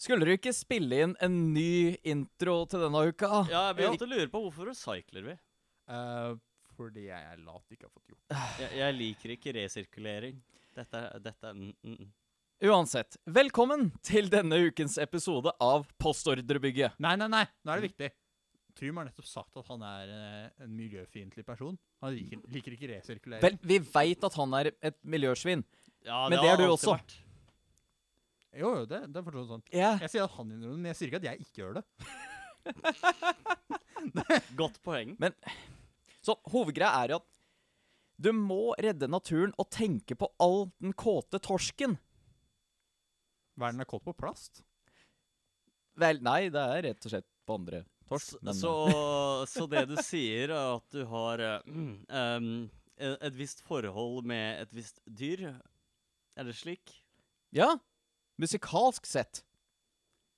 Skulle du ikke spille inn en ny intro til denne uka? Ja, jeg begynte å lure på hvorfor recycler vi. Eh, fordi jeg er lat ikke har fått gjort Jeg, jeg liker ikke resirkulering. Dette er, dette er mm, mm, mm. Uansett, velkommen til denne ukens episode av Postordrebygget. Nei, nei, nei, nå er det viktig. Trym har nettopp sagt at han er eh, en miljøfiendtlig person. Han liker, liker ikke Vel, resirkulering. vi veit at han er et miljøsvin. Ja, Men det har er du alltid også. vært. Jo, jo, det, det er fortsatt sånn. Ja. Jeg sier at han innrømmer det, men jeg sier ikke at jeg ikke gjør det. Godt poeng. Så hovedgreia er jo at du må redde naturen og tenke på all den kåte torsken. Verden er kåt på plast. Vel, nei, det er rett og slett på andre torsk. S- men- Så, så det du sier, er at du har eh, em, eh, et visst forhold med et visst dyr? Er det slik? Ja, musikalsk sett.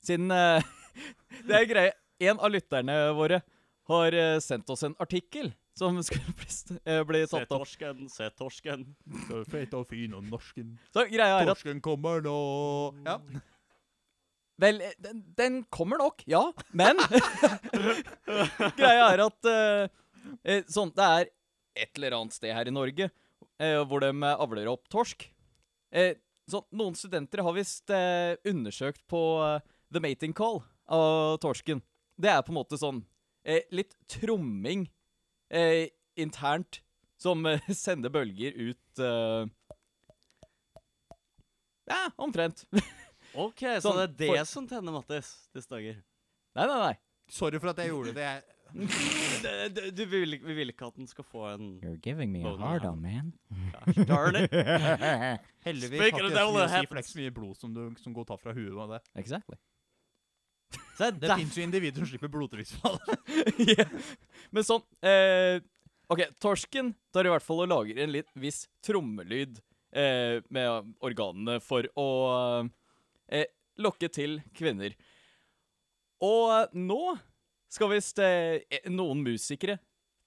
Siden eh, Det er greie. En av lytterne våre har eh, sendt oss en artikkel som skulle bli, st- eh, bli Se tatt opp. torsken, se torsken. Så feit og fin og norsken. Så greia er at Torsken kommer nå. Ja. Vel, eh, den, den kommer nok, ja. Men greia er at eh, eh, sånn, Det er et eller annet sted her i Norge eh, hvor de eh, avler opp torsk. Eh, sånn, noen studenter har visst eh, undersøkt på eh, The Mating Call av torsken. Det er på en måte sånn eh, litt tromming eh, internt som eh, sender bølger ut eh, Ja, omtrent. nei, OK, så det Sånn, er det for- som tenner Mattis disse dager. nei, nei. Sorry for at jeg gjorde det. Jeg, Det- det- Du, vi, vil, vi vil ikke at den skal få en You're giving me a hard on, man. Gosh darn it. heldigvis har Speak ikke of jeg the så mye å happens. si, for det er ikke så mye blod som, du, som går tapt fra huet med det. Exactly. Så det Det er fins jo individer som slipper blodtrykksfall. Ja. Men sånn eh, Ok, torsken tar i hvert fall og lager en litt viss trommelyd eh, med organene for å eh, lokke til kvinner. Og eh, nå skal visst eh, eh, noen musikere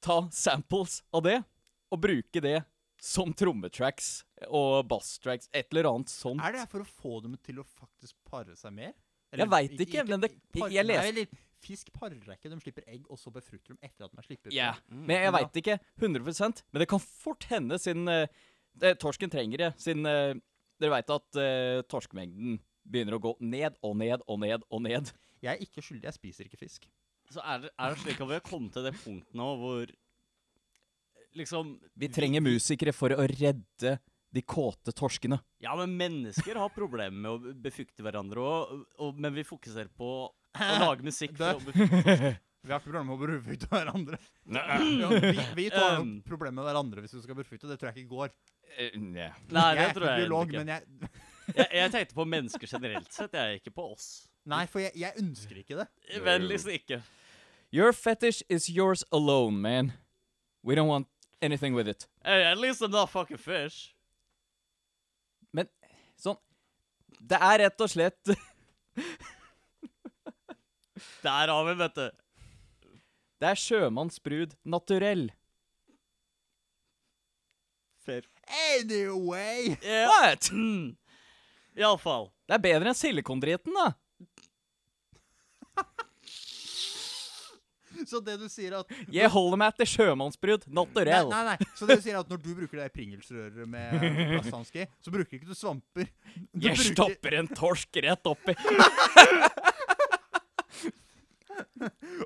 ta samples av det og bruke det som trommetracks og basstracks, et eller annet sånt. Er det her for å få dem til å faktisk pare seg mer? Jeg vet ikke, men det- par- jeg leste- Nei, eller, Fisk parer seg ikke, de slipper egg, og så befrukter de etter at de er slippet. ut. Ja, men jeg Ja. veit ikke 100 Men det kan fort hende, siden eh, eh, torsken trenger det. Siden eh, dere veit at eh, torskemengden begynner å gå ned og ned og ned og ned. Jeg er ikke skyldig, jeg spiser ikke fisk. Så er det, er det slik at vi har kommet til det punktet nå hvor liksom Vi trenger musikere for å redde de kåte torskene. Ja, men mennesker har problemer med å be- befukte hverandre òg, men vi fokuserer på å lage musikk for å befukte Vi har ikke problemer med å brufukte hverandre. Nei, Ja, vi, vi to har Um. noen problemer med hverandre hvis vi skal brufukte. Det tror jeg ikke går. det jeg er tror ikke jeg biolog, egentlig ikke. men jeg Jeg, jeg tenkte på mennesker generelt sett, jeg er ikke på oss. Nei, for jeg, jeg ønsker ikke det. Vennligst ikke. Your fetish is yours alone, man. We don't want anything with it. Hey, at least I'm not liksom fucking fish. Men sånn Det er rett og slett Der har vi, vet du. Det er sjømannsbrud naturell. Fair. Anyway! Yeah. What? Mm. Iallfall. Det er bedre enn silikondriten, da. Så det du sier at Jeg holder meg til sjømannsbrud Nei, naturell. nei, nei. Så det du sier er at når du bruker det pringelsrøret med plasthanske, så bruker ikke du svamper. Du Jeg bruker, stapper en torsk rett oppi.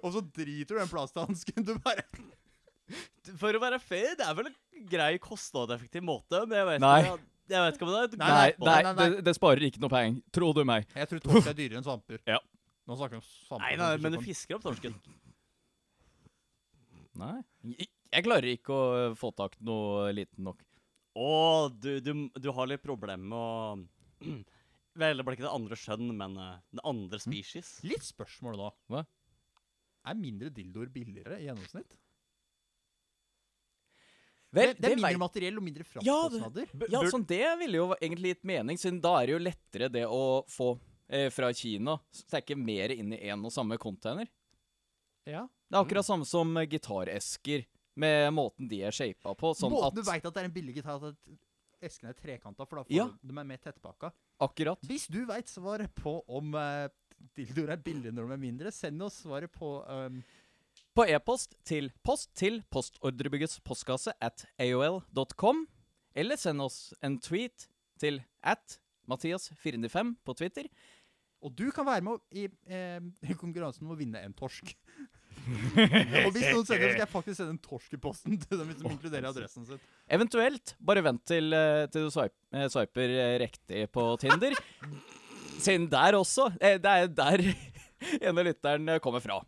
og så driter du i den plasthansken. Du bare For å være fair, det er vel en grei kostnadseffektiv måte, men jeg vet Nei. ikke om det- jeg vet ikke om det er et Nei, Nei, godt nei, valg. nei, nei. Det, det sparer ikke noe penger. Tro du meg. Jeg tror torsk er dyrere enn svamper. Ja. Nå snakker vi om svamper. Nei, nei, men det fisker opp torsken. Nei. Jeg, jeg klarer ikke å øh, få tak noe liten nok. Å, du, du, du har litt problemer med å Vel, det ble ikke det andre skjønn, men eh, den andre species. Litt spørsmål da. Hva? Er mindre dildoer billigere i gjennomsnitt? Vel, det, det er det mindre vet- materiell og mindre Ja, det- fraktkostnader. B- Ja, sånn, det ville jo egentlig gitt mening, siden da er det jo lettere det å få eh, fra Kina. Stekke mer inn i én og samme container. Ja, Det er akkurat Mm. samme som eh, gitaresker, med måten de er shapa på. Sånn Måten du at veit at det er en billig gitar, at esken er trekanta, for da får Ja. du, de er mer tettpakka. Akkurat. Hvis du veit svaret på om eh, Dildoer er billige når de er mindre. Send oss svaret på um, På e-post til post til postordrebyggets postkasse at aol.com, eller send oss en tweet til at Mathias495 på Twitter. Og du kan være med i em, i konkurransen om å vinne en torsk. og hvis noen sender, så skal jeg faktisk sende en torsk i posten til dem hvis de inkluderer adressen sin. Eventuelt, bare vent til, eh, til du swipe, eh, swiper eh, riktig på Tinder. Siden der også. eh, Det er der ene lytteren eh, kommer fra.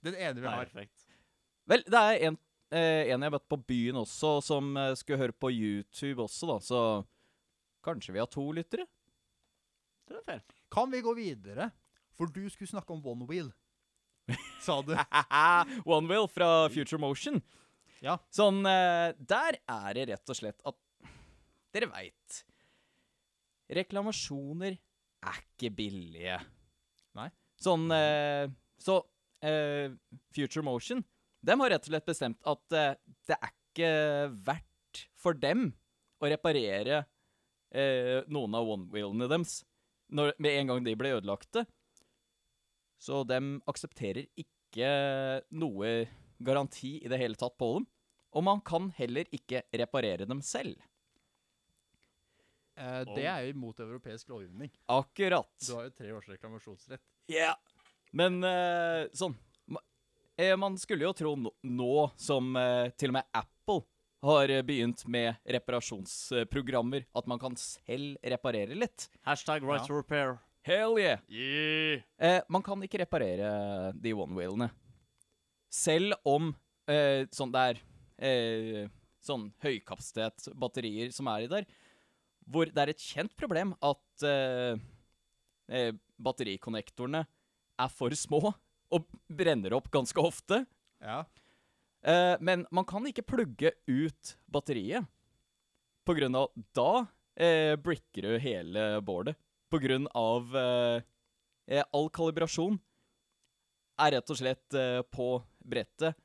Den ene vi har. Perfekt. Vel, det er en, eh, en jeg møtte på byen også, som eh, skulle høre på YouTube også, da, så kanskje vi har to lyttere? Det er fair. Kan vi gå videre? For du skulle snakke om one wheel. Sa du. One Will fra Future Motion. Ja. Sånn, eh, der er det rett og slett at Dere veit. Reklamasjoner er ikke billige. Nei. Sånn eh, Så eh, Future Motion dem har rett og slett bestemt at eh, det er ikke verdt for dem å reparere eh, noen av one-wheelene deres når, med en gang de ble ødelagte. Så dem aksepterer ikke noe garanti i det hele tatt på dem. Og man kan heller ikke reparere dem selv. Eh, det er jo imot europeisk lovgivning. Akkurat. Du har jo tre års reklamasjonsrett. Ja. Men eh, sånn ma- eh, Man skulle jo tro nå, nå som eh, til og med Apple har eh, begynt med reparasjonsprogrammer, at man kan selv reparere litt. Hashtag right Ja. to repair. Hell yeah! Yeah. Eh, man kan ikke reparere de one-wheelene. Selv om eh, sånn det er eh, sånn høykapasitet batterier som er i der, hvor det er et kjent problem at eh, eh, batterikonnektorene er for små og brenner opp ganske ofte. Ja. Eh, men man kan ikke plugge ut batteriet. På grunn av Da eh, bricker du hele boardet. På grunn av eh, eh, All kalibrasjon er rett og slett eh, på brettet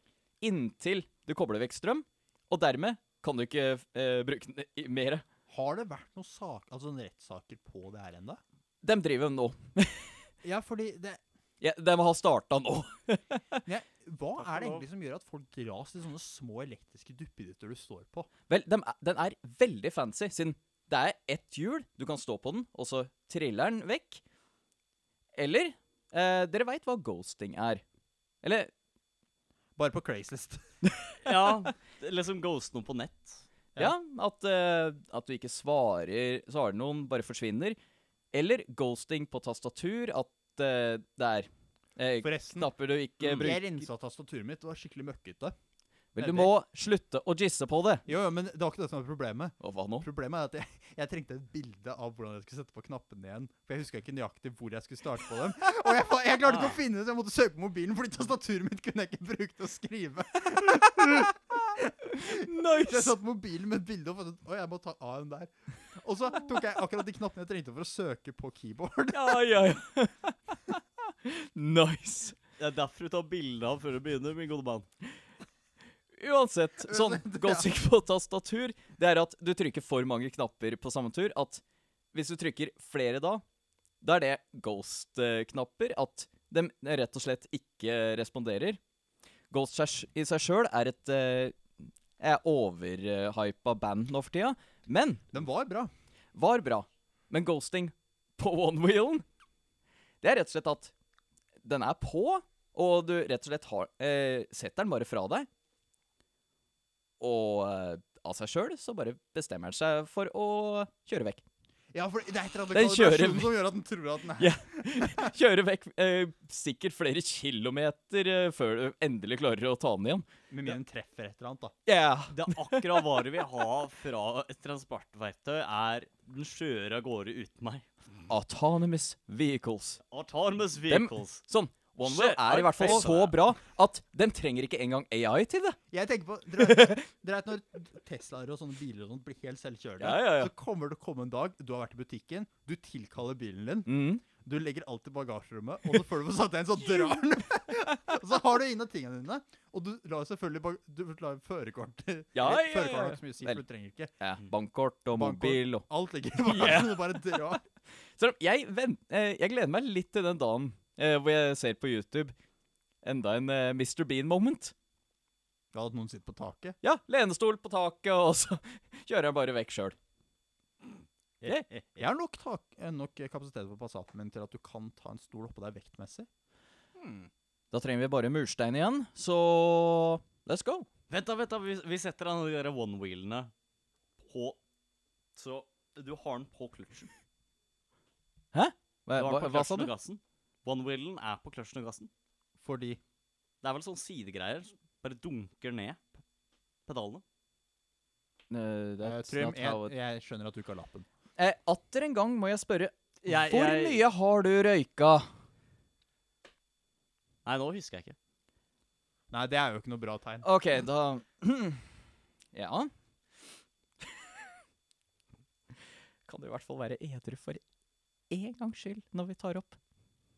inntil du kobler vekk strøm. Og dermed kan du ikke eh, bruke den i- mer. Har det vært noen sak, altså noen rettssaker på det her ennå? De driver nå. Ja, fordi det Ja, de har starta nå. men jeg, Hva Takk er det for egentlig som gjør at folk dras til sånne små elektriske duppeditter du står på? Vel, dem er, den er veldig fancy, siden det er ett hjul. Du kan stå på den, og så triller den vekk. Eller eh, Dere veit hva ghosting er. Eller Bare på Craigslist. Ja. det er Liksom ghost noen på nett. Ja, at, eh, at du ikke svarer, svarer noen, bare forsvinner. Eller ghosting på tastatur, at eh, det er eh, Forresten, Knapper du ikke Mm. bruker jeg rensa tastaturet mitt. Det var skikkelig møkkete. Vel, du må slutte å jizze på det. Jo, jo, men det var ikke det som var problemet. Og hva nå? Problemet er at jeg, jeg trengte et bilde av hvordan jeg skulle sette på knappene igjen. For jeg huska ikke nøyaktig hvor jeg skulle starte på dem. Og jeg, fa- jeg klarte ikke å finne det, så jeg måtte søke på mobilen, fordi tastaturet mitt kunne jeg ikke bruke til å skrive. Så jeg Nice! satt på mobilen med et bilde og fant ut Å, jeg må ta A-en der. Og så tok jeg akkurat de knappene jeg trengte for å søke på keyboard. Ja, ja, ja. nice. Det er derfor du tar bilde av før du begynner, min gode mann. Uansett, sånn Uansett, ja. ghosting på tastatur, det er at du trykker for mange knapper på samme tur. At hvis du trykker flere da, da er det ghost-knapper. At de rett og slett ikke responderer. Ghost seg sj- i seg sjøl er et eh, er overhypa band nå for tida, men Den var bra. var bra. Men ghosting på one-wheelen, det er rett og slett at den er på, og du rett og slett har, eh, setter den bare fra deg. Og eh, av seg sjøl så bare bestemmer den seg for å kjøre vekk. Ja, for det er et eller Den annet kjører kalibrasjon som gjør at den tror at den er Ja. Kjøre vekk eh, sikkert flere kilometer eh, før du endelig klarer å ta den igjen. Med mindre den treffer et eller annet, da. Yeah. Det er akkurat hva du vil ha fra et transportverktøy, er den skjøre av gårde uten meg. Autonomous vehicles. Autonomous Dem- vehicles. Sånn. OneWheel Shit, er i hvert fall iPhone. så bra at den trenger ikke engang AI til det. Jeg tenker på Dere dere vet når Teslaer og sånne biler og sånt blir helt selvkjørende, Ja, ja, ja. så kommer det å komme en dag du har vært i butikken, du tilkaller bilen din, Mm. du legger alt i bagasjerommet, og så før du får satt deg inn, så sånn drar den. og så har du inne tingene dine, og du lar selvfølgelig bag du lar førerkortet Ja, ja, Eller, ja, Førerkortet har ja. ikke så mye å si, Vel. for du trenger ikke. Ja, bankkort og Bankkort. mobil og Alt ligger i bagasjen, du bare drar. Så jeg, vent, eh, jeg gleder meg litt til den dagen eh, hvor jeg ser på YouTube enda en eh, Mr. Bean-moment. Ja, at noen sitter på taket. Ja, lenestol på taket, og så kjører jeg bare vekk sjøl. Jeg har nok, tak eh, nok kapasitet på Passaten min til at du kan ta en stol oppå deg vektmessig. Da trenger vi bare murstein igjen, så let's go. Vent, da, vent da, vi, vi setter han de der one-wheelene på Så du har den på kløtsjen. Du Hva, har Eh, hva, den på hva sa kløtsjen du? og gassen. One-wheelen er på kløtsjen og gassen. Fordi Det er vel sånn sidegreier. som Bare dunker ned p- pedalene. Eh, eh, that's Trym, not how jeg, it- jeg skjønner at du ikke har lappen. Eh, Atter en gang må jeg spørre, Jeg- hvor jeg- mye har du røyka? Nei, nå husker jeg ikke. Nei, det er jo ikke noe bra tegn. OK, da Ja. Kan du i hvert fall være edru for én gangs skyld når vi tar opp?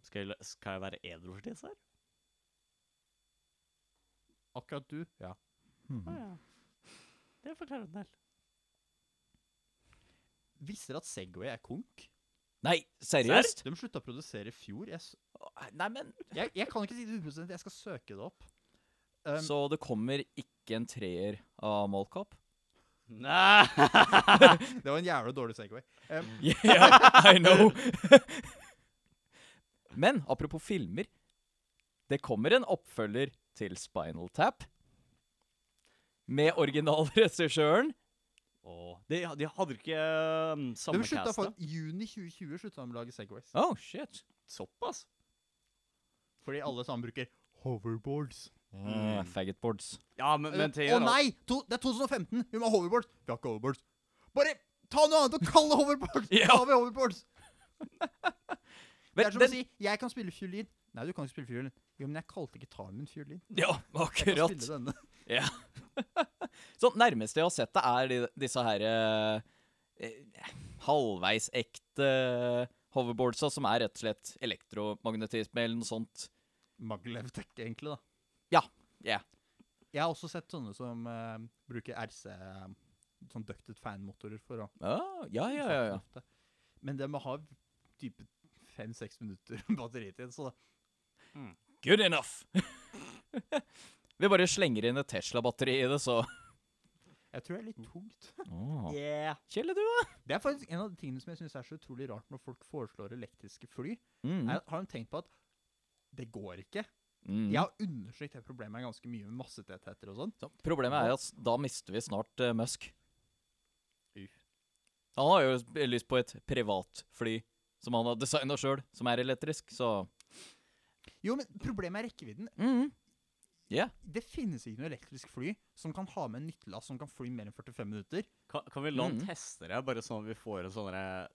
Skal jeg, la- skal jeg være edru for disse her? Akkurat du. Ja. Å ja. Det forklarer en del. Visste dere at Segway er konk? Nei, seriøst? De slutta å produsere i fjor. Jeg, s- Nei, men jeg, jeg kan ikke si det 100 jeg skal søke det opp. Um, Så det kommer ikke en treer av Molcop? Nei. Det var en jævla dårlig Segway. Um, Yeah, I know. Men apropos filmer. Det kommer en oppfølger til Spinal Tap. Med originalregissøren. Åh, de, de hadde ikke um, de samme slutta for castet. juni 2020 slutta de å lage Segways. Oh, shit. Såpass. Fordi alle sammen bruker hoverboards. Mm. Faggotboards. Ja, men, men Eh, ting Å er at- nei! To, det er 2015! Vi må ha hoverboards! Vi har ikke hoverboards. Bare ta noe annet og kall det hoverboards! Ja. Da har vi hoverboards! Det Vel, er som å den, si 'jeg kan spille fiolin'. Nei, du kan ikke spille fiolin. Jo, men jeg kalte ikke talen min fiolin. ja, Jeg kan akkurat. spille denne. Så nærmeste jeg har sett det, er de, disse her eh, eh, halvveis ekte hoverboardsa, som er rett og slett elektromagnetisme eller noe sånt. Maglev-tech, egentlig, da. Ja, ja. Jeg har også sett sånne som eh, bruker RC Sånn ducted fan-motorer for å Ah, ja, ja, ja, ja. Ofte. Men det må ha type fem-seks minutter batteritid, så Good enough! Vi bare slenger inn et Tesla-batteri i det, så jeg tror det er Mm. litt tungt. Ah. Yeah. Kjell, du, da? Det er faktisk en av de tingene som jeg syns er så utrolig rart når folk foreslår elektriske fly. Mm. Er, har de tenkt på at det går ikke? Mm. Jeg har undersøkt det problemet ganske mye med massetettheter og sånn. Så Problemet er at s- da mister vi snart eh, Musk. Uh. Han har jo s- lyst på et privatfly som han har designa sjøl, som er elektrisk, så Jo, men problemet er rekkevidden. mm. Det finnes ikke noe elektrisk fly som kan ha med en nyttelast som kan fly mer enn 45 minutter. Kan, kan vi la han Mm. teste det, bare sånn at vi får en sånn derre-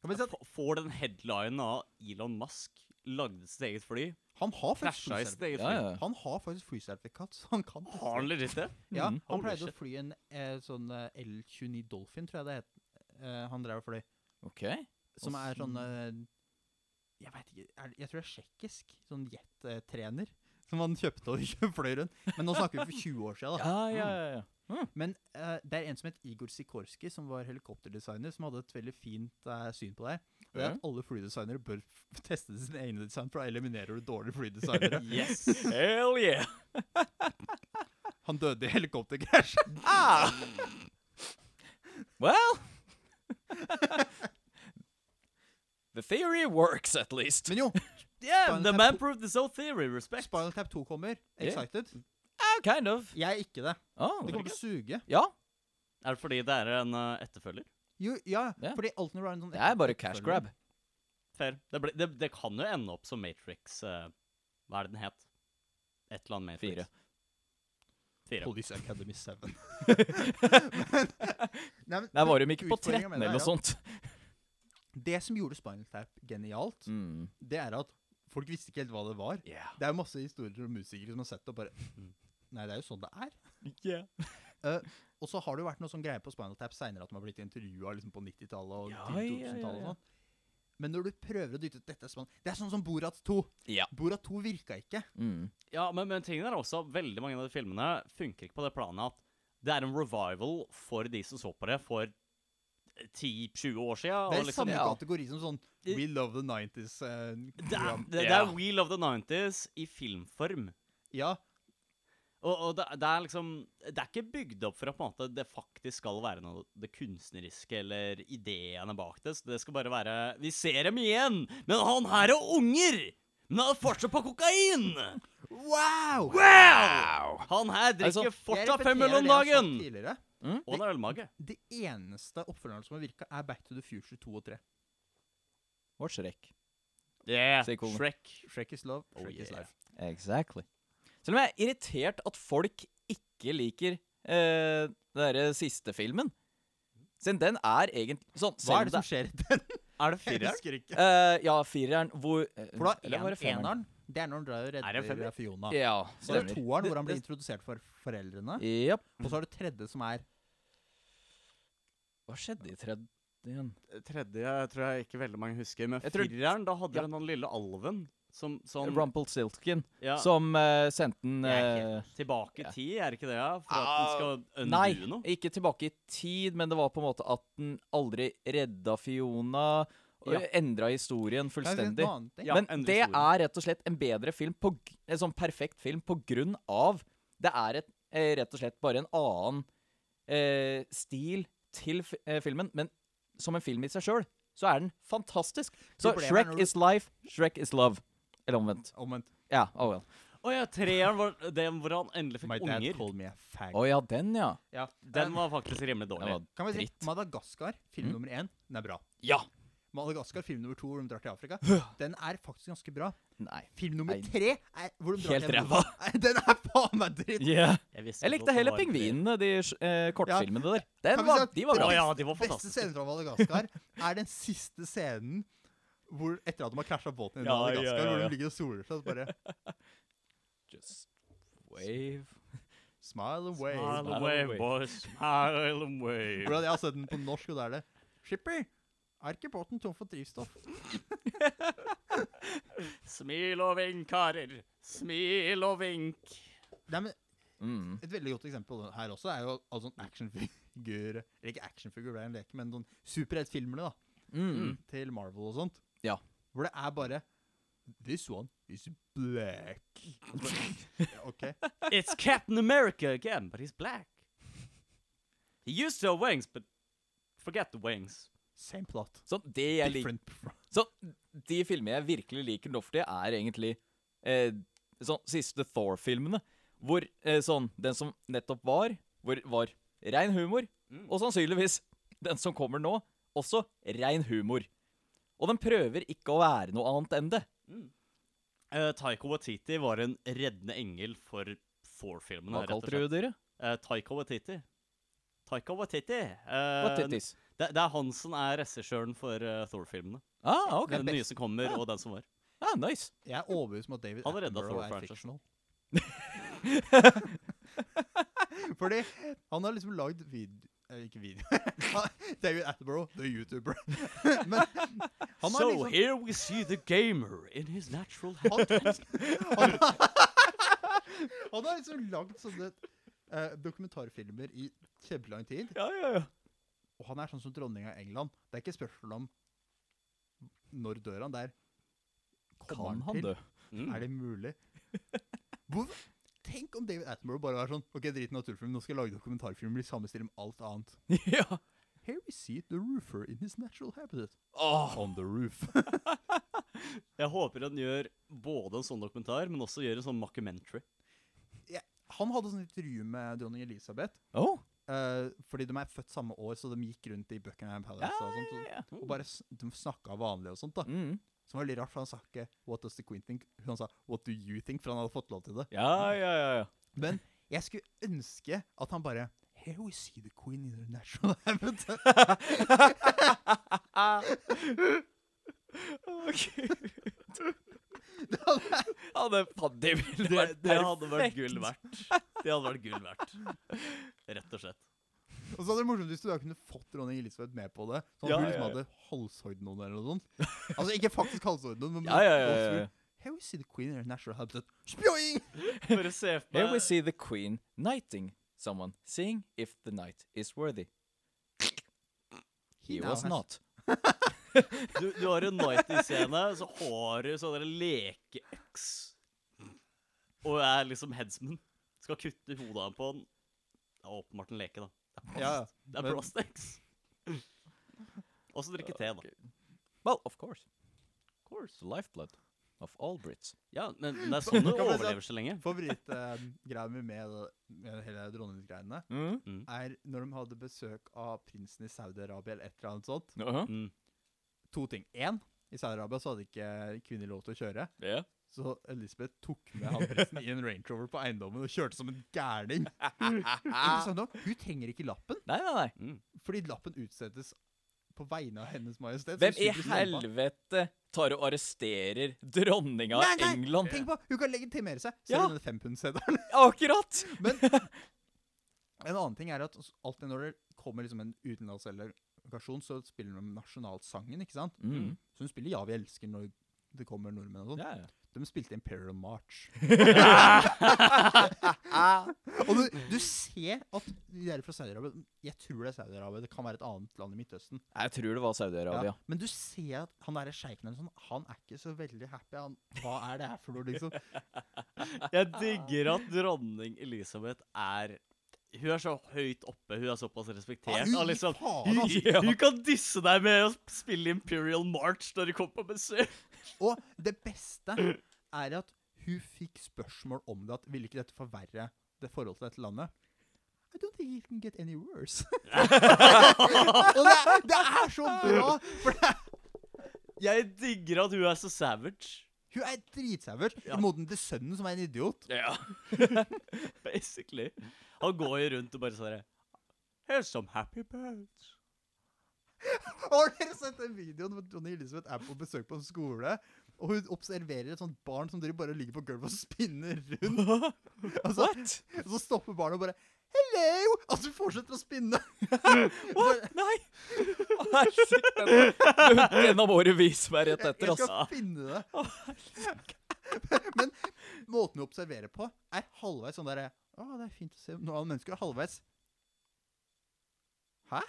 Kan vi si at F- Får den headlinen av Elon Musk lagde sitt eget fly, han har faktisk flasha i sitt eget flysertifikat. Ja, fly? ja. Han har faktisk flysertifikat, så han kan Har han legit det? Ja, Mm. han Holy pleide shit. å fly en eh, sånn eh, L29 Dolphin, tror jeg det het. eh, han drev og fløy. OK. Som Og er sånn- sånn eh, Jeg vet ikke, er, det- jeg tror det er tsjekkisk. Sånn jettrener. Som han kjøpte og fløy rundt. Men nå snakker vi for 20 år siden. Da. Ja, ja, ja. ja. Men eh, det er en som het Igor Sikorski, som var helikopterdesigner, som hadde et veldig fint eh, syn på det. her. Det er at alle flydesignere bør f- teste sine egne design, for da eliminerer du dårlige flydesignere. Yes. Mm. Hell yeah! Han døde i helikopterkrasj. Ah! Well The theory works, at least. Men jo, Yeah, Spinal the Tap man to- proved his own theory. Respect. Spinal Tap 2 kommer. Ja. Excited. Ah, kind of. Jeg er ikke det. Ah, Det kommer til å suge. ja, Er det fordi det er en eh, etterfølger? Jo, ja, Ja. fordi alt når du har en sånn det er bare cash etterfølger- grab. Fair. Det, ble, det, det kan jo ende opp som Matrix eh, Hva er det den het? Et eller annet Matrix. Fire. Fire. Police Academy 7. Der var de ikke på 13 Utfordringen med det eller er noe at sånt. Det som gjorde Spinal Tap genialt, Mm. det er at folk visste ikke helt hva det var. Det er jo masse historier om musikere som har sett det og bare Nei, det er jo sånn det er. Og så har det jo vært noe sånn greie på Spinal Tap seinere at de har blitt intervjua liksom, på 90-tallet og Ja, tidlig ja, ja, 2000-tallet. ja. og sånn. Men når du prøver å dytte ut dette er Spinal- Det er sånn som Borat 2. Ja. Borat 2 virka ikke. Mm. Ja, men, men tingen er også veldig mange av de filmene funker ikke på det planet at det er en revival for de som så på det for 10-20 år siden. og Det er liksom, samme ja. kategori som sånn We love the 90s. eh, det, er, program. det, det Ja. er We Love the 90s i filmform. Ja, Og, og det, det er liksom Det er ikke bygd opp for at på en måte, det faktisk skal være noe det kunstneriske eller ideene bak det. Så det skal bare være Vi ser dem igjen! Men han her har unger! Men han er fortsatt på kokain! Wow! Wow! Han her Altså, drikker Jeg fortsatt fem øl om repeterer det jeg altså, har dagen! sagt tidligere. Og han har ølmage. Det eneste oppfølgeren som har virka, er Back to the Future 2 og 3. Og Shrek. Yeah, Sier konen. Shrek. Shrek is love, Oh, Shrek is yeah. life. Exactly. Selv om jeg er irritert at folk ikke liker eh, den derre siste filmen. Siden den er egentlig sånn Hva selv er det om som skjer i den? Er det Jeg fireren? husker ikke. Eh, ja, fireren hvor eh, For da eller var er det femmeren? eneren. Det er når han drar og Er det en redder femmer? Fiona. Ja, Så det er stemmer. toeren hvor han blir Det- introdusert for foreldrene. Japp. Og så er det tredje som er Hva skjedde i tredje igjen? Tredje tror jeg ikke veldig mange husker. Men Jeg tror- fireren, da hadde Ja. du den lille alven som, som Sånn- Rumpelstiltskin, ja, som eh, sendte den Jeg er helt eh, Tilbake Ja. Ah, i tid, er det ikke det? ja? For at den skal undo Nei, noe? ikke tilbake i tid, men det var på en måte at den aldri redda Fiona. Og Ja. Endra historien Kan jeg si fullstendig. en annen ting? Ja, men endra det historien. er rett og slett en bedre film, på, g- en sånn perfekt film, på grunn av Det er et, eh, rett og slett bare en annen eh, stil til fi- eh, filmen, men som en film i seg sjøl, så er den fantastisk. Så Problemet er Shrek når du- is life, Shrek is love. Eller omvendt. Omvendt. Ja, oh well. Å ja, treeren var den hvor han endelig My fikk dad unger. called me a fag. Å ja, den, ja. Ja. Den var faktisk rimelig Den dårlig. var Kan vi si dritt. Mm. Madagaskar, film nummer én, den er bra. Ja! Madagaskar, film nummer to, hvor de drar til Afrika, den er faktisk ganske bra. Nei. Film nummer Nei. tre, er, hvor de drar Helt til ræva. Europa, Nei, den er faen meg dritt! Jeg, visste Jeg ikke at likte det heller var en treer. pingvinene, de eh, kortfilmene der. Kan Den vi si var, at- de var Å bra. ja, de var Beste fantastiske. scenen fra Madagaskar er den siste scenen hvor, etter at de har krasja båten i Ja, ja, Madagaskar, ja, hvor ja. de ligger og soler seg, så bare Just wave. Smile and wave. Smile away, boys. Smile away. Hvordan jeg har sett den på norsk, og da er det Skipper, er ikke båten tom for drivstoff? Smil og vink, karer. Smil og vink. Nei, men Mm. Et veldig godt eksempel her også er jo altså en actionfigur Eller ikke actionfigur, det er en leke, men sånn superheltfilmene da, Mm. til Marvel og sånt. Ja. Hvor det er bare This one is black. Ja, OK. It's Captain America again, but he's black. He used to have wings, but forget the wings. Same plot. Sånn, det jeg liker Different plot. Så de filmene jeg virkelig liker nå for tida, er egentlig eh, sånn siste Thor-filmene. Hvor eh, sånn Den som nettopp var, hvor var rein humor. Og sannsynligvis den som kommer nå, også rein humor. Og den prøver ikke å være noe annet enn det. Eh, Taika Waititi var en reddende engel for Thor-filmene. Hva rett og kalte du slett. dyret? Eh, Taika Waititi. Taika Waititi. eh, Hva tittis? Det, det er han som er regissøren for eh, Thor-filmene. Ah, ok. Den nye som kommer, og den som var. Ah, nice. Jeg er overbevist om at David Han redda Thor Attenborough er franchisen. fictional. Fordi han har liksom lagd vid... eh, Ikke video. David Attenborough, the YouTuber. Men han har so liksom here we see the gamer in his natural Han, habitat. han, han har liksom lagd sånne eh, dokumentarfilmer i kjempelang tid. Ja, ja, ja. Og han er sånn som dronninga av England. Det er ikke spørsmål om når dør han. Det er kommer Kan han til? dø? Mm. Er det mulig? Hvorfor? Tenk om David Attenborough bare var sånn Ok, drit i naturfilm, nå skal jeg lage dokumentarfilmer i samme stil om alt annet. ja. Here we see the roofer in his natural habitat. Åh. On the roof. Jeg håper han gjør både en sånn dokumentar, men også gjør en sånn mockumentary. han hadde sånn intervju med dronning Elisabeth, Oh. eh, fordi de er født samme år, så de gikk rundt i Buckingham Palace og sånt. Og, ja. og bare s- de snakka vanlig og sånt, da. Mm. Som var veldig rart, for han sa ikke 'What does the queen think?' Han sa 'What do you think?' For han hadde fått lov til det. ja, ja, ja, ja. Men jeg skulle ønske at han bare Here we see the queen in her natural habitat. Ja, det, faen, det ville Det, vært det hadde vært perfekt. gull verdt. Det hadde vært gull verdt. Rett og slett. Og så hadde det vært morsomt hvis du da kunne fått dronning Elisabeth med på det. Sånn at Ja, hun ja, liksom ja. hadde halshøydenoen eller noe sånt. Altså ikke faktisk halshøydenoen, men Ja, ja, ja, ja, ja. Here we see the queen in her natural habitat. Spjoing! Bare se for Here we meg see the queen knighting someone, seeing if the knight is worthy. He was not. Du, du har en nighty-scene, så har du sånn der lekeøks. Og er liksom headsman. Skal kutte hodet av på den. Det er åpenbart en leke, da. Det er plast. Ja, det er men- plastex. Og så drikke te, da. Well, of course. Of course. The lifeblood of all Brits. Ja, men det er sånn du Kan man si at- overlever så lenge. Favorittgreia mi med, med hele dronninggreiene Mm. er når de hadde besøk av prinsen i Saudi-Arabia eller et eller annet sånt. Uh Mm. To ting. Én, i Saudi-Arabia så hadde ikke kvinner lov til å kjøre. yeah. Så Elisabeth tok med han prinsen i en Range Rover på eiendommen og kjørte som en gærning. Interessant nok, hun trenger ikke lappen, Nei, nei, nei. Mm. fordi lappen utstedes på vegne av Hennes Majestet. så Hvem hun i slipper ikke lampa. helvete tar og arresterer dronninga Nei, av nei, England? Tenk på, hun kan legitimere seg, Ja. selv om den fempundseddelen. Akkurat! Men en annen ting er at alltid når det kommer liksom en utenlandsdelegasjon, så spiller de nasjonalsangen, ikke sant? Mm. Så hun spiller Ja, vi elsker når det kommer nordmenn og sånn. Ja, ja. De spilte Imperial March. og du, du ser at de der fra Saudi-Arabia Jeg tror det er Saudi-Arabia, det kan være et annet land i Midtøsten. Jeg tror det var Saudi-Arabia. Ja. Men du ser at han derre sjeiken eller sånn, han er ikke så veldig happy. Han, hva er det her for noe, liksom? Jeg digger at dronning Elisabeth er Hun er så høyt oppe, hun er såpass respektert. Ja, Ah, hun og gir liksom, faen, hun, altså. hun kan disse deg med å spille Imperial March når du kommer på besøk. Og det beste er at hun fikk spørsmål om det, at ville ikke dette forverre det forholdet til dette landet? I don't think it can get any worse. og det, er- det er så bra! For det er, Jeg digger at hun er så savage, hun er dritsauer, Ja. i moden til sønnen som er en idiot. Ja. basically. Han går jo rundt og bare sånn her, Here's some happy birds. Har dere sett den videoen hvor Johnny Elisabeth er på besøk på en skole, og hun observerer et sånt barn som driver bare og ligger på gulvet og spinner rundt? Altså, Og så, What? og så stopper barnet og bare Hello! Altså, hun fortsetter å spinne. What? Nei! Herregud. Den- Den av våre vis meg rett etter, Jeg altså. skal finne det. Men måten du observerer på, er halvveis sånn derre Å, det er fint å se noen andre mennesker. og Halvveis Hæ?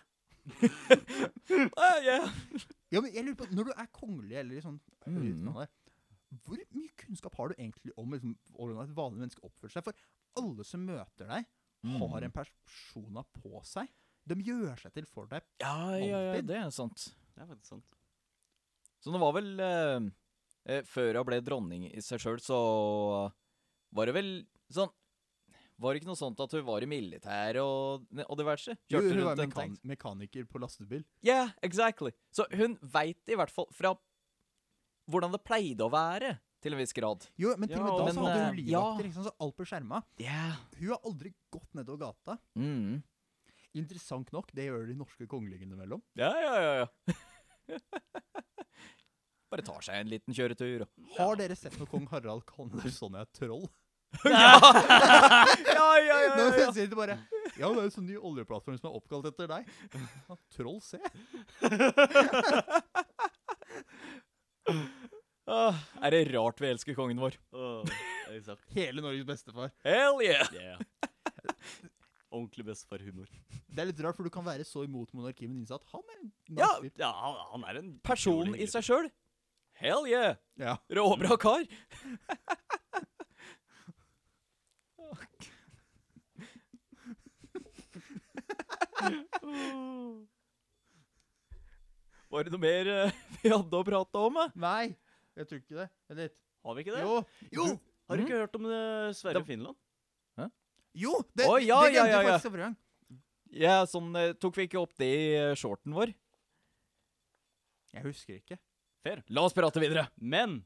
Ah, yeah. Ja, men jeg lurer på, Når du er kongelig eller i sånn Mm. utenlandet, hvor mye kunnskap har du egentlig om liksom, hvordan et vanlig menneske oppfører seg? For alle som møter deg, Mm. har en persona på seg. De gjør seg til for deg. Ja, ja, ja, Alltid. det er sant. Det er faktisk sant. Så det var vel eh, eh, Før hun ble dronning i seg sjøl, så var det vel sånn Var det ikke noe sånt at hun var i militæret og, og diverse? Jo, Kjørte hun rundt var en mekan tanks- mekaniker på lastebil. Yeah, exactly. Så hun veit i hvert fall fra hvordan det pleide å være, til en viss grad. Jo, men til og med Ja, da men, så hadde hun eh, ja. livvakter, ikke sant, så alt ble skjerma. Yeah. Hun har aldri gått nedover gata. Mm. Interessant nok, det gjør de norske kongelingene innimellom. Ja, ja, ja, ja. Bare tar seg en liten kjøretur. og- Har dere sett når kong Harald kaller Sonja et troll? Ja, ja, ja, Nei, ja, men ja. sier de bare Ja, det er en sånn ny oljeplattform som er oppkalt etter deg. Ja, troll C? Ah, Er det rart vi elsker kongen vår? Åh, exakt. Hele Norges bestefar. Hell yeah! Yeah. Ordentlig best for humor. Det er litt rart, for du kan være så imot monarkiet, men innse at han er en nice Ja. fyr. Ja, han, han er en Personen i seg sjøl? Hell yeah! Ja. Råbra kar. Var det noe mer eh, vi hadde å prate om? eh? Nei, jeg tror ikke det. Vent litt. Har vi ikke det? Jo, Jo! Har du Mm. ikke hørt om eh, Sverige og Finland? jo det, Å, ja, det ja, ja, glemte vi ja. faktisk forrige gang. Ja, sånn eh, Tok vi ikke opp det i eh, shorten vår? Jeg husker ikke. La oss prate videre. Men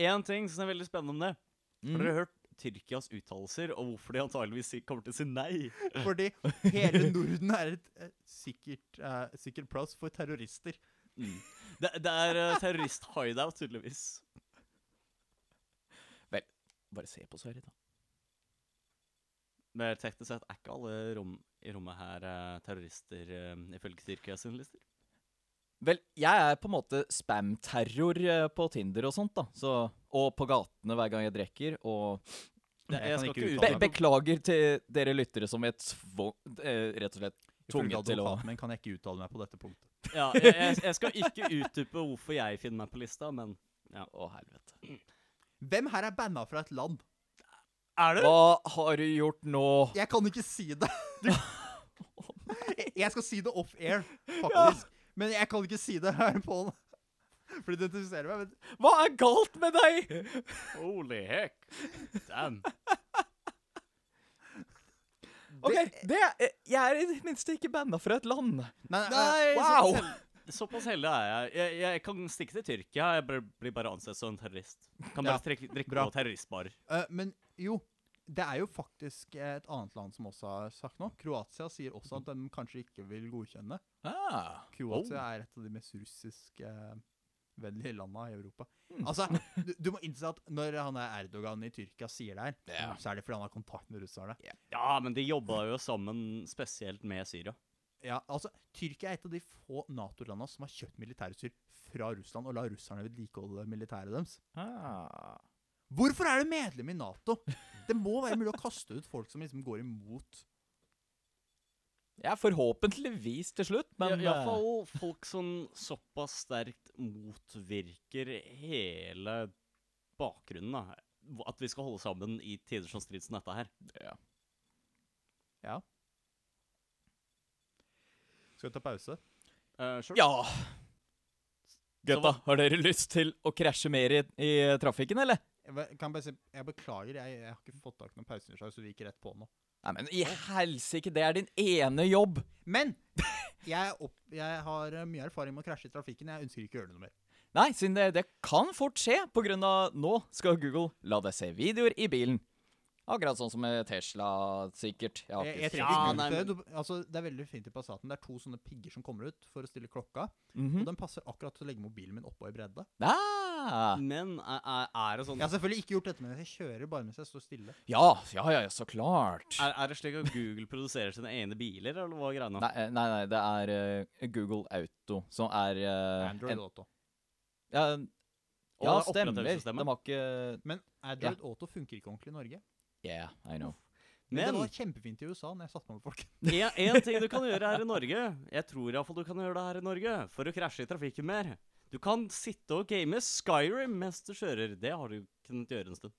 én ting som er veldig spennende om det. Har Mm. dere hørt Tyrkias uttalelser og hvorfor de antageligvis si- kommer til å si nei? Fordi hele Norden er et eh, sikkert, eh, sikkert plass for terrorister. Mm. Det, det er eh, terrorist-hideout, tydeligvis. Bare se på Sverige, da. Men teknisk sett er ikke alle rom, i rommet her eh, terrorister eh, ifølge Tyrkia sine lister. Vel, jeg er på en måte spam-terror eh, på Tinder og sånt, da. Så, og på gatene hver gang jeg drikker. Og Det, Jeg kan ikke be uttale meg. beklager til dere lyttere som jeg tvang... eh, Rett og slett Ifølge tvunget til å advokaten min kan jeg ikke uttale meg på dette punktet. Ja, jeg, jeg, jeg skal ikke utdype hvorfor jeg finner meg på lista, men ja. Å, helvete. Hvem her er banna fra et land? Er du? Hva har du gjort nå? Jeg kan ikke si det. Jeg- Jeg skal si det off air, faktisk. Men jeg kan ikke si det her på den. For det identifiserer meg. Men Hva er galt med deg? Holy heck. Damn. OK, det eh, Jeg er i det minste ikke banna fra et land. Nei, Nei, eh, Wow! så- Såpass heldig er jeg. jeg. Jeg kan stikke til Tyrkia. Jeg blir- blir bare ansett som en terrorist. Kan bare Ja, trekke, drikke bra. på terroristbarer. Eh, Men jo, det er jo faktisk et annet land som også har sagt noe. Kroatia sier også at de kanskje ikke vil godkjenne. Ah. Kroatia er et av de mest russiskvennlige landa i Europa. Altså, du, du må innse at når han der Erdogan i Tyrkia sier det her, Ja. så er det fordi han har kontakt med russerne. Ja, men de jobba jo sammen spesielt med Syria. Ja, altså, Tyrkia er et av de få Nato-landa som har kjøpt militærutstyr fra Russland og lar russerne vedlikeholde militæret deres. Ah. Hvorfor er du medlem i Nato? Det må være mulig å kaste ut folk som liksom går imot Ja, forhåpentligvis til slutt, men eh, Men iallfall folk som såpass sterkt motvirker hele bakgrunnen, da. At vi skal holde sammen i tider som strid som dette her. Ja. Skal vi ta pause? Eh, eh, sure. Ja. Så Gutta, har dere lyst til å krasje mer i, i trafikken, eller? Jeg, be- kan bare si, jeg beklager, jeg, jeg har ikke fått tak i noen pauseutslag, så vi gikk rett på nå. Nei, men i helsike, det er din ene jobb. Men jeg, er opp, jeg har eh, mye erfaring med å krasje i trafikken. Jeg ønsker ikke å gjøre det noe mer. Nei, siden det, det kan fort skje, på grunn av nå skal Google la deg se videoer i bilen. Akkurat sånn som med Tesla, sikkert. Jeg har Jeg, ikke jeg sett- trenger Ja, ikke nei, ut det. men- Du- altså, det er veldig fint i Passaten. Det er to sånne pigger som kommer ut for å stille klokka. Og Mhm. den passer akkurat til å legge mobilen min oppå i bredde. Ah. Men er, er, er det sånn Jeg har selvfølgelig ikke gjort dette mens jeg kjører, bare mens jeg står stille. Ja, ja, ja, ja, så klart. er, er det slik at Google produserer sine egne biler, eller hva er greia nå? Nei, eh, nei, nei, det er eh, Google Auto som er eh, Android en, Auto. ja, Og ja, det er stemmer. operatørsystemet. De har ikke Men Android Auto funker ikke ordentlig i Norge. Yeah, I know. Men, Men det var kjempefint i USA når jeg satte meg med folk. en, en ting du kan gjøre her i Norge, jeg tror iallfall du kan gjøre det her i Norge, for å krasje i trafikken mer. Du kan sitte og game Skyrim mens du kjører. Det har du kunnet gjøre en stund.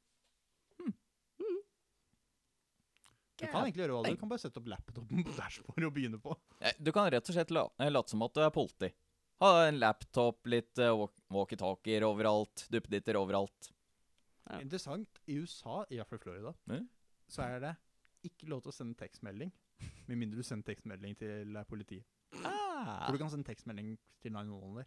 Du kan egentlig gjøre hva du du kan bare sette opp laptopen på dashbordet og begynne på. Eh, Du kan rett og slett la- eh, late som at du er politi. Ha en laptop, litt eh, walk- walkietalkier overalt, duppeditter overalt. Ja. Interessant. I USA, i hvert fall i Florida, Ja. så er det ikke lov til å sende tekstmelding. Med mindre du sender tekstmelding til eh, politiet. For Ah. du kan sende tekstmelding til 911 der.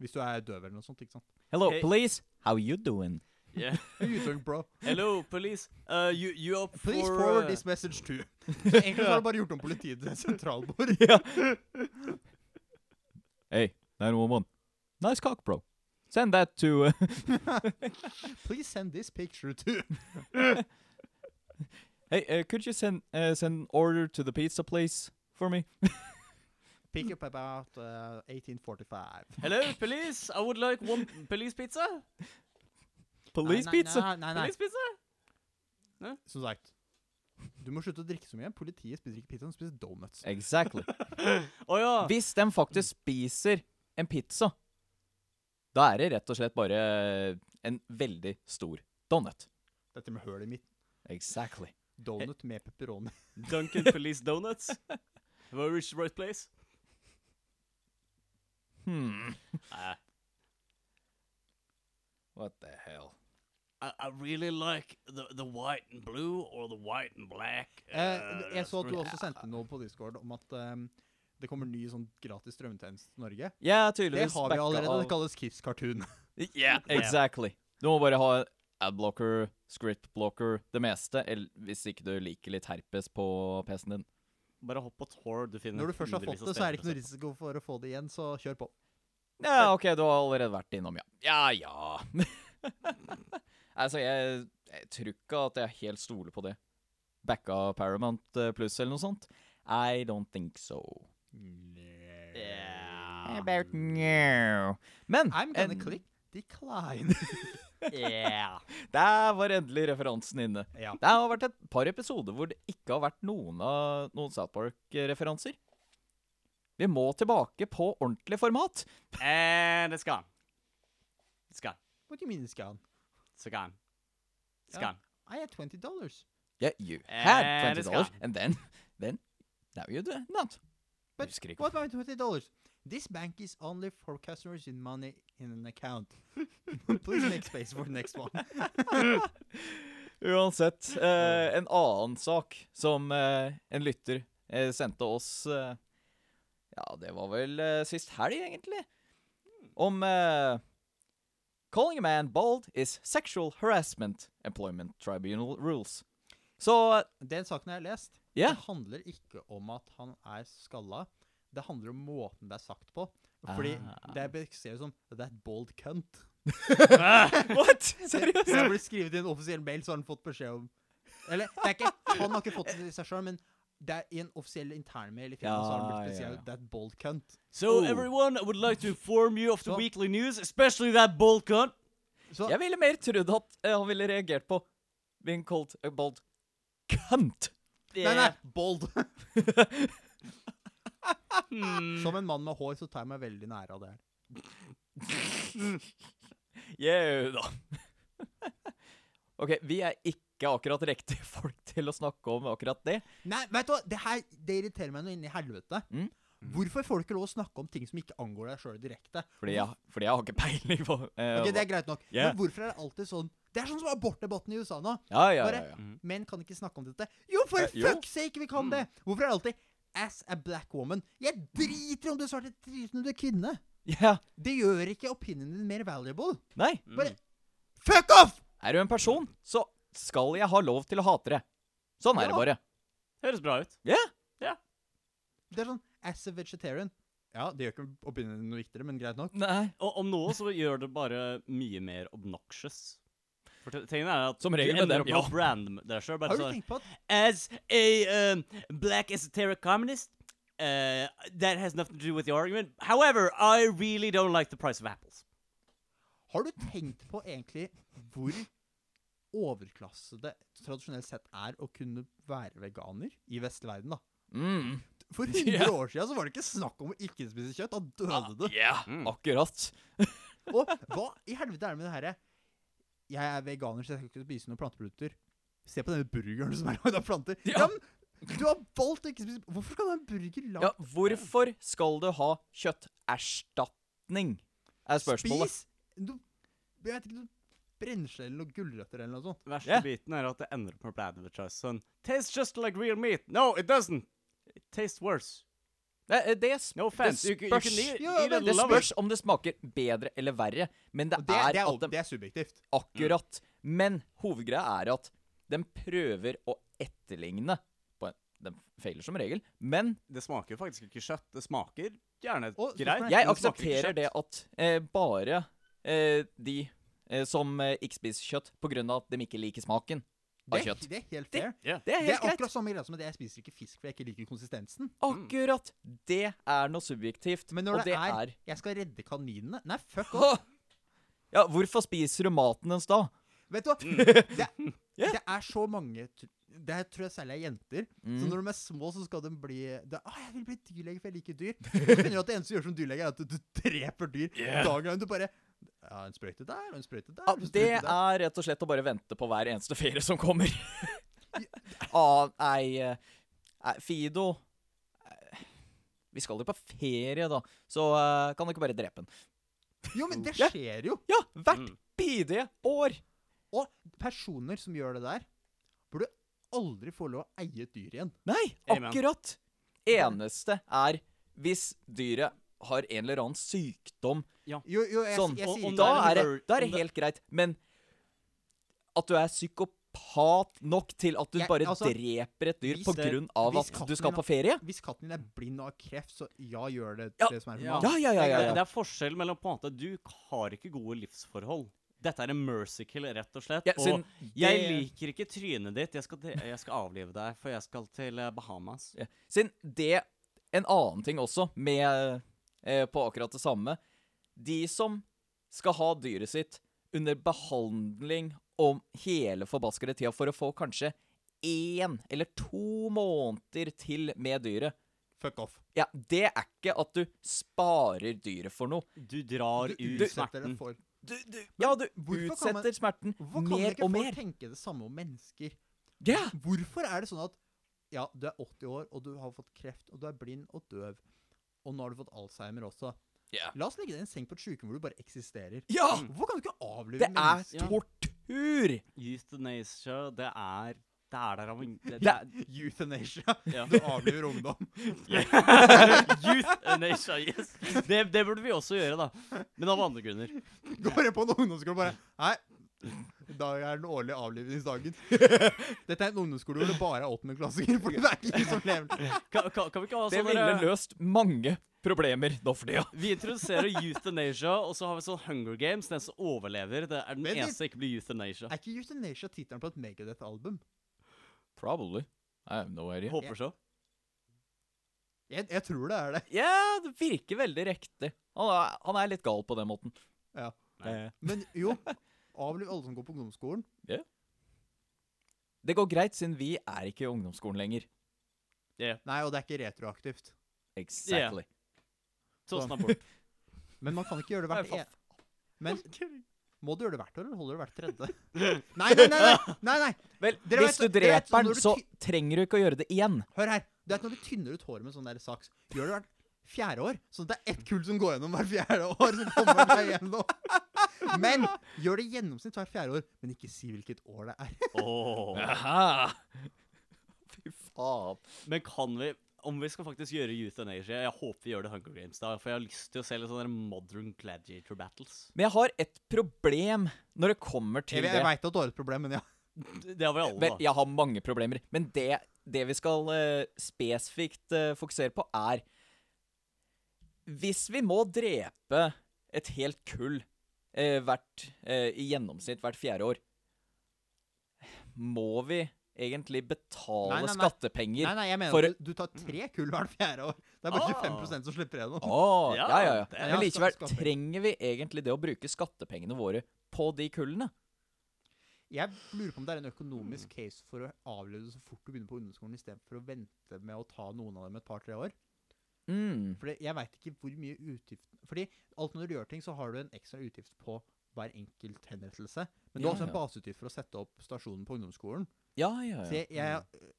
Hvis du er døv eller noe sånt. ikke sant? Hello, Hey. police. How you doing? Yeah. Hey, you doing, bro? Hello, police. Uh, you, you up for Please uh, forward this message to Så Egentlig så har du bare gjort om politiet til et sentralbord. Hey, 911. Nice cock, bro. Send that to uh, Please send this picture to Hey, uh, could you send uh, send order to the pizza place for me? Pick up about uh, 1845. Hello, police. I would like one police pizza. Police nei, nei, pizza. Nei, nei, nei. Police pizza? Som sagt, du må slutte å drikke så mye. Politiet spiser ikke pizza, de spiser donuts. Exactly. Å ja. Hvis de faktisk spiser en pizza, da er det rett og slett bare en veldig stor donut. Dette med hølet mitt. Exactly. Donut med pepperoni. Duncan Police Donuts. Have I reached the right place? Hmm. Nei. What the hell? I, I really like the, the white and blue or the white and black. uh, Eh, jeg så at du restaurant. også sendte noe på Discord om at ehm, det kommer ny sånn gratis strømmetjeneste til Norge. Ja, Det tydeligvis har vi backa allerede. av- Det kalles Kiss Cartoon. Yeah, exactly. Du må bare ha adblocker, scriptblocker, det meste, eller hvis ikke du liker litt herpes på PC-en din. Bare hopp på Tor. Du finner Når du først har hundrevis av fått det, så er det ikke steder noe risiko for å få det igjen, så kjør på. Ja, OK, du har allerede vært innom, ja. Ja, ja. altså, jeg, jeg tror ikke at jeg helt stoler på det. Backa Paramount eh, pluss eller noe sånt? I don't think so. å About no. Men I'm gonna en- click decline. se på. Yeah. der var endelig referansen inne. ja. Det har vært et par episoder hvor det ikke har vært noen av noen South Park-referanser. Vi må tilbake på ordentlig format. Eh, det skal han. Det skal han. What do you mean, Scan? Skal han. Skal Ja. han. I had 20 dollars, Yeah, you Eh, had det 20 skal dollars, han. and then, then, now you do not. but Husker ikke. what about 20 dollars? This bank is only for customers in money in an account. Please make space for the next one. Uansett, eh, en annen sak som eh, en lytter eh, sendte oss eh, Ja, det var vel eh, sist helg, egentlig. Om eh, Calling a man bald is sexual harassment. Employment tribunal rules. Så eh, Den saken jeg har lest, Ja. det handler ikke om at han er skalla. Det handler om måten det er sagt på. Fordi Ah. det beskrives som Det er et bold cunt. What?! Det Seriøst? det ble skrevet i en offisiell mail, så har han fått beskjed om Eller det er ikke, han har ikke fått det til seg sjøl, men det er i en offisiell internmail i firmaet, så har han Ja, blitt ja, beskrevet ja. Det er et bold cunt. So Ooh. everyone, I would like to inform you of the Så- weekly news, especially that bold cunt. Så Jeg ville mer trodd at eh, han ville reagert på being called a bald cunt. Nei, nei, bold. Hmm. Som en mann med hår, så tar jeg meg veldig nære av det her. Jau da. ok, vi er ikke akkurat riktige folk til å snakke om akkurat det. Nei, vet du hva? Det her det irriterer meg noe inni helvete. Mm. Hvorfor får du ikke lov å snakke om ting som ikke angår deg sjøl direkte? Fordi jeg, fordi jeg har ikke peiling på eh, Ok, Det hva- er greit nok. Ja. Men hvorfor er det alltid sånn? Det er sånn som abortdebatten i USA nå. ja, ja, ja, bare- ja. Menn kan ikke snakke om dette. Jo, for Eh, jo. fuck's sake, vi kan det! Hvorfor er det alltid As a black woman. Jeg driter om du er svart eller driter om du er kvinne. ja. Det gjør ikke opinionen din mer valuable. Nei. Bare fuck off! Er du en person, så skal jeg ha lov til å hate deg. Sånn er det Ja. bare. Høres bra ut. Ja. Det er sånn as a vegetarian. Mm. Ja, det gjør ikke opinionen din noe viktigere, men greit nok. Nei. Og om noe så gjør det bare mye mer obnoxious. For te- tingen er at Som regel med du ender dem, opp ja. med å brande deg sjøl. Har du Altså- tenkt på at As a um, black esoteric communist, uh, that has nothing to do with the argument. However, I really don't like the price of apples. Har du tenkt på egentlig hvor overklasse det tradisjonelt sett er å kunne være veganer i vestlig verden, da? Mm. For 100 år siden så var det ikke snakk om å ikke spise kjøtt. Da døde du. Ah, Ja, Mm. akkurat. Og hva i helvete er det med det herre Jeg er veganer, så jeg skal ikke spise noen planteprodukter. Se på denne burgeren som er lagd av planter. Ja. Ja, men du har valgt å ikke spise Hvorfor skal du ha en burger lagd Ja, hvorfor skal du ha kjøtterstatning? Er spørsmålet. Spis noe Jeg vet ikke noe brensle eller noe gulrøtter eller noe sånt. Verste Ja. biten er at det ender opp med å bli advertised sånn Tastes just like real meat. No, it doesn't. It tastes worse. Det, eh, det, sp No offense. det You, c- you spørs. can eat, Ja, eat men it, Det love spørs om det smaker bedre eller verre, men det, Og det, er, det, er, at over- de det er subjektivt. Akkurat. Men hovedgreia er at de prøver å etterligne på en, De feiler som regel, men it. Det smaker jo faktisk ikke kjøtt. Det smaker gjerne Å, greit. Nei, jeg men det smaker ikke aksepterer kjøtt. det at eh, bare eh, de eh, som eh, ikke spiser kjøtt pga. at de ikke liker smaken av Det er, kjøtt. det er helt Det- fair. Det er Det er helt greit. akkurat samme greia som at jeg spiser ikke fisk, for jeg ikke liker konsistensen. Akkurat. Det er noe subjektivt, Mm. Men når og det, det er er, 'jeg skal redde kaninene' Nei, fuck off. Åh! Ja, hvorfor spiser du maten dens da? Vet du hva? Det, Mm. Ja. det er så mange tr- Det her tror jeg særlig er jenter. Så Mm. når de er små, så skal de bli det, 'Å, jeg vil bli dyrlege, for jeg liker dyr'. Så finner du at det eneste du gjør som dyrlege, er at du, du dreper dyr. Yeah. Dagen lang. Du bare ja, 'En sprøyte der, og en sprøyte der'. Ja, og en det sprøyte der. er rett og slett å bare vente på hver eneste ferie som kommer. ah, nei, eh, nei, Fido eh, Vi skal jo på ferie, da, så eh, kan du ikke bare drepe den? Jo, men det Ja. skjer jo. Ja, hvert Mm. bidige år! Og personer som gjør det der, burde aldri få lov å eie et dyr igjen. Nei, Amen. akkurat! Eneste er hvis dyret har en eller annen sykdom. Jo, jo, jeg, Sånn. jeg, Og- sier og ikke Da er det, en vir- da er om det det- helt greit, men at du er psykopat nok til at du Jeg- bare altså, dreper et dyr hvis på det- grunn av hvis at katten du skal min på ferie? Hvis katten din er blind og har kreft, så ja, gjør det Ja. det som er Ja. normalt. Ja, ja, ja. ja, Det, ja. det er forskjell mellom på en måte Du har ikke gode livsforhold. Dette er en mercy kill, rett og slett. Ja, og siden jeg det- liker ikke trynet ditt. Jeg skal, de- jeg skal avlive deg, for jeg skal til eh, Bahamas. Ja. Siden det En annen ting også, med eh, på akkurat det samme De som skal ha dyret sitt under behandling om hele forbaskede tida for å få kanskje én eller to måneder til med dyret Fuck off. Ja, det er ikke at du sparer dyret for noe. Du drar Du ut utsetter smerten. det for Du, du, ja, du hvorfor kan man- utsetter smerten Hvorfor kan mer ikke og folk mer. tenke det samme om mennesker? Ja! Hvorfor er det sånn at ja, du er 80 år, og du har fått kreft, og du er blind og døv, og nå har du fått Alzheimer også. Ja. La oss legge deg i en seng på et sykehjem hvor du bare eksisterer. ja! Hvorfor kan du ikke avlive Det er mennesker? Ja. tortur! Euthanasia, det er Det er der av en det, det, Det- Euthanasia. Ja. Du avliver ungdom. Euthanasia, yes. det, det burde vi også gjøre, da. Men av andre grunner. Går jeg på en ungdomsskole og bare Nei, i dag er den årlige avlivningsdagen. Dette er en ungdomsskole hvor det bare er åttendeklassinger, for det er ikke de som lever. Kan, kan, kan vi ikke ha Det sånn ville derre- løst mange problemer nå for tida. Vi introduserer euthanasia, og så har vi sånn Hunger Games. Den som overlever, det er den Men vi- eneste som ikke blir euthanasia. Er ikke Euthanasia tittelen på et Megadeth-album? Probably. I have no idea. Håper så. Jeg, jeg tror det er det. Ja, det virker veldig riktig. Han er, han er litt gal på den måten. Ja. Eh, Men jo, avliv alle som går på ungdomsskolen. Det går greit, siden vi er ikke i ungdomsskolen lenger. Nei, og det er ikke retroaktivt. Exactly. Sånn abort. Men man kan ikke gjøre det hvert Nei, år. Men må du gjøre det hvert år, eller holder du det hvert tredje? Nei, nei, nei! nei, nei, nei. Vel, Dere hvis du vet- dere vet dreper den, når du så ti- trenger du ikke å gjøre det igjen. Hør her. Du vet når du tynner ut håret med sånn der saks, gjør det hvert fjerde år. Sånn at det er ett kull som går gjennom hvert fjerde år. som kommer deg gjennom. Men gjør det i gjennomsnitt hvert fjerde år, men ikke si hvilket år det er. Åh. Aha. Fy faen. Men kan vi om vi skal faktisk gjøre euthanasia, jeg håper vi gjør det Hunger Games, da, for jeg har lyst til å se litt sånne der modern gladiator battles. Men jeg har et problem når det kommer til Jeg, det. jeg veit at du har et problem, men ja. Det har vi alle, Vel, da. jeg har mange problemer, men det, det vi skal eh, spesifikt eh, fokusere på, er Hvis vi må drepe et helt kull eh, hvert, eh, i gjennomsnitt hvert fjerde år, må vi egentlig betale Nei, nei, nei. skattepenger? Nei, nei, jeg mener For- at du, du tar tre kull hvert fjerde år. Det er bare 25 som slipper igjennom. Å, ja, ja, ja. det er- Men likevel, Ja, skatt- skatt- trenger vi egentlig det å bruke skattepengene våre på de kullene? Jeg lurer på om det er en Mm. økonomisk case for å avlede så fort du begynner på ungdomsskolen, istedenfor å vente med å ta noen av dem et par-tre år. Mm. Fordi jeg veit ikke hvor mye utgift Fordi alt når du gjør ting, så har du en ekstra utgift på hver enkelt henrettelse. Men du Ja, har også en ja. baseutgift for å sette opp stasjonen på ungdomsskolen. Ja, ja, Mm. Så ja. jeg, jeg øh,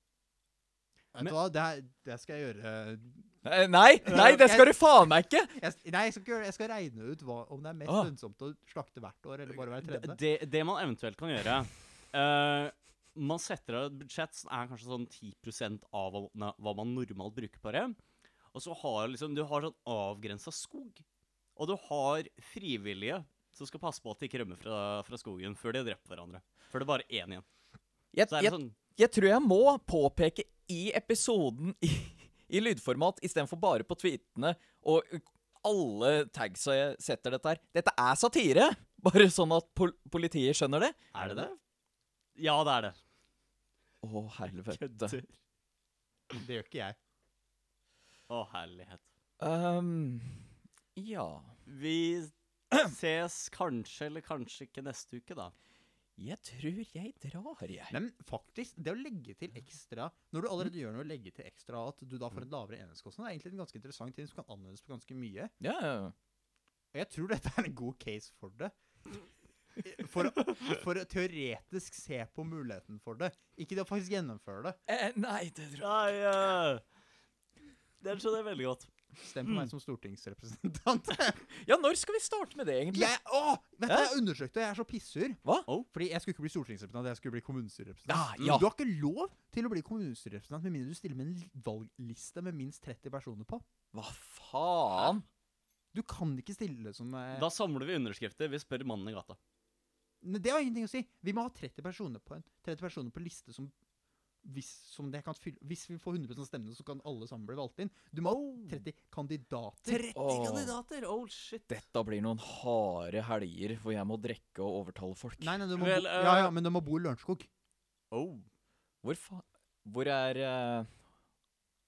Vet Men- du hva, det, er- det skal jeg gjøre Eh, Nei, nei, det skal du faen meg ikke! jeg, s- Nei, jeg skal, ikke gjøre det. jeg skal regne ut hva, om det er mest Ah. lønnsomt å slakte hvert år, eller bare hver D- tredje. Det, det man eventuelt kan gjøre eh, Man setter av et budsjett som er kanskje sånn 10 av hva- na- hva man normalt bruker på det. Og så har liksom, du har sånn avgrensa skog. Og du har frivillige som skal passe på at de ikke rømmer fra, fra skogen før de dreper hverandre. Før det er bare én igjen. Jeg, Så er jeg, det sånn Jeg tror jeg må påpeke i episoden i, i lydformat istedenfor bare på tweetene og alle tagsa jeg setter dette her. Dette er satire! Bare sånn at pol politiet skjønner det. Er det det? Ja, det er det. Å, helvete. Det gjør ikke jeg. Å, herlighet. Um, ja Vi ses kanskje eller kanskje ikke neste uke, da. Jeg tror jeg drar, jeg. Nei, men faktisk, det å legge til ekstra Når du allerede gjør noe, legge til ekstra at du da får en lavere enhetskostnad, er egentlig en ganske interessant ting som kan anvendes på ganske mye. Ja, ja, ja. Og jeg tror dette er en god case for det. For, å- for å teoretisk se på muligheten for det. Ikke det å faktisk gjennomføre det. Eh, nei, det tror jeg Nei, eh, den skjønner jeg veldig godt. Stem på meg Mm. som stortingsrepresentant. Ja, når skal vi starte med det, egentlig? Jeg, åh, vet du, jeg undersøkte, og jeg er så pissur. Hva? Oh. Fordi jeg skulle ikke bli stortingsrepresentant, jeg skulle bli kommunestyrerepresentant. Ja, ja. Du har ikke lov til å bli kommunestyrerepresentant med mindre du stiller med en li- valgliste med minst 30 personer på. Hva faen? Du kan ikke stille som eh, Da samler vi underskrifter. Vi spør mannen i gata. Nei, Det har ingenting å si. Vi må ha 30 personer på en 30 personer på liste som hvis, som det kan fylle, hvis vi får 100 stemmene, så kan alle sammen bli valgt inn. Du må Oh. ha 30 kandidater. 30 Åh. kandidater! Oh, shit. Dette blir noen harde helger hvor jeg må drikke og overtale folk. Nei, nei, du må Vel, bo, eh, ja, ja, men du må bo i Lørenskog. Oh. Hvor faen Hvor er uh,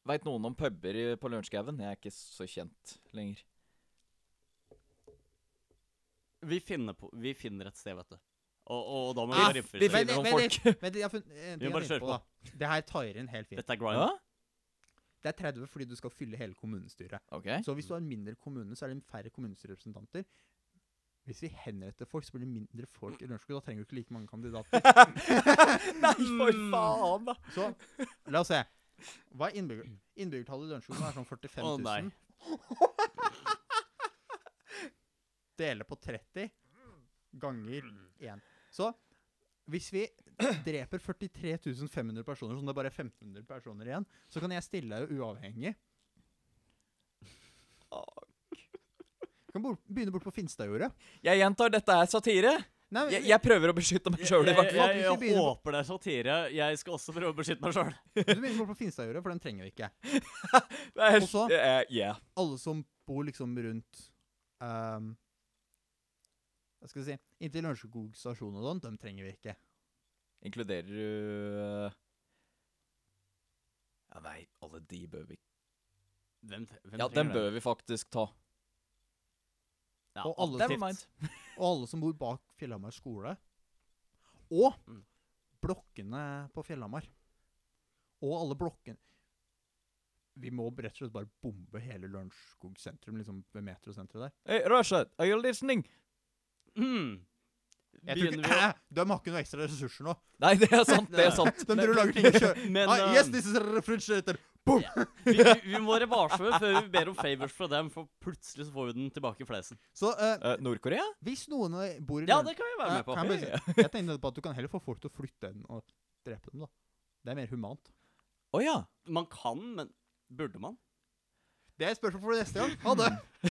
Veit noen om puber i- på Lørenskauen? Jeg er ikke så kjent lenger. Vi, finner på, vi finner et sted, vet du. Og, og da må Ah, vi vi rifle finner- til. noen vent, litt, vent, litt, eh, jeg har funnet en Vi må ting jeg bare tenkte kjøre på, da. Det her tar inn helt fint. Dette er Ja? grind. Det er 30 fordi du skal fylle hele kommunestyret. OK? Så hvis du har en mindre kommune, så er det færre kommunestyrerepresentanter. Hvis vi henretter folk, så blir det mindre folk i Lørenskog. Da trenger du ikke like mange kandidater. Nei, for faen, da! Så la oss se. Hva er innbygger innbyggertallet i Lørenskog? nå? Er sånn 45 Å, 000. nei. Dele på 30 ganger 1. Så hvis vi dreper 43 500 personer, sånn det er bare 1500 personer igjen, så kan jeg stille deg uavhengig. Du kan bort, begynne bort på Finstadjordet. Jeg gjentar, dette er satire. Nei, Jeg, jeg prøver å beskytte meg sjøl, i Jeg, hvert fall. jeg, Hvis vi jeg, begynner på- håper det er satire. Jeg skal også prøve å beskytte meg sjøl. du begynner bort på Finstadjordet, for den trenger vi ikke. Det er- Også- eh, Ja. alle som bor liksom rundt ehm, Hva skal jeg si Inntil Lørenskog stasjon og sånn, dem trenger vi ikke. Inkluderer du Ja, nei, alle de bør vi Hvem, tre- hvem Ja, trenger den bør vi faktisk ta. Ja, Og alle aktivt. Never Og alle som bor bak Fjellhamar skole. Og Mm. blokkene på Fjellhamar. Og alle blokkene Vi må rett og slett bare bombe hele Lørenskog sentrum, liksom ved metrosenteret der. Hey, Rashad, are you listening? Mm. Jeg tror Begynner ikke, De har ikke noen ekstra ressurser nå. Nei, det er sant, det er sant. De driver og lager ting og kjører. vi Men ah, eh, yes, this is a refrigerator. Boom! vi, vi, vi må være varsomme før vi ber om favors fra dem, for plutselig så får vi den tilbake i fleisen. Så eh, Eh, Nord-Korea? hvis noen bor i Ja, Løren- det kan vi være Ja, med på. kan jeg, bare si- jeg tenkte på at du kan heller få folk til å flytte enn å drepe dem, da. Det er mer humant. Å ja. Man kan, men burde man? Det er et spørsmål for neste gang. Ha det!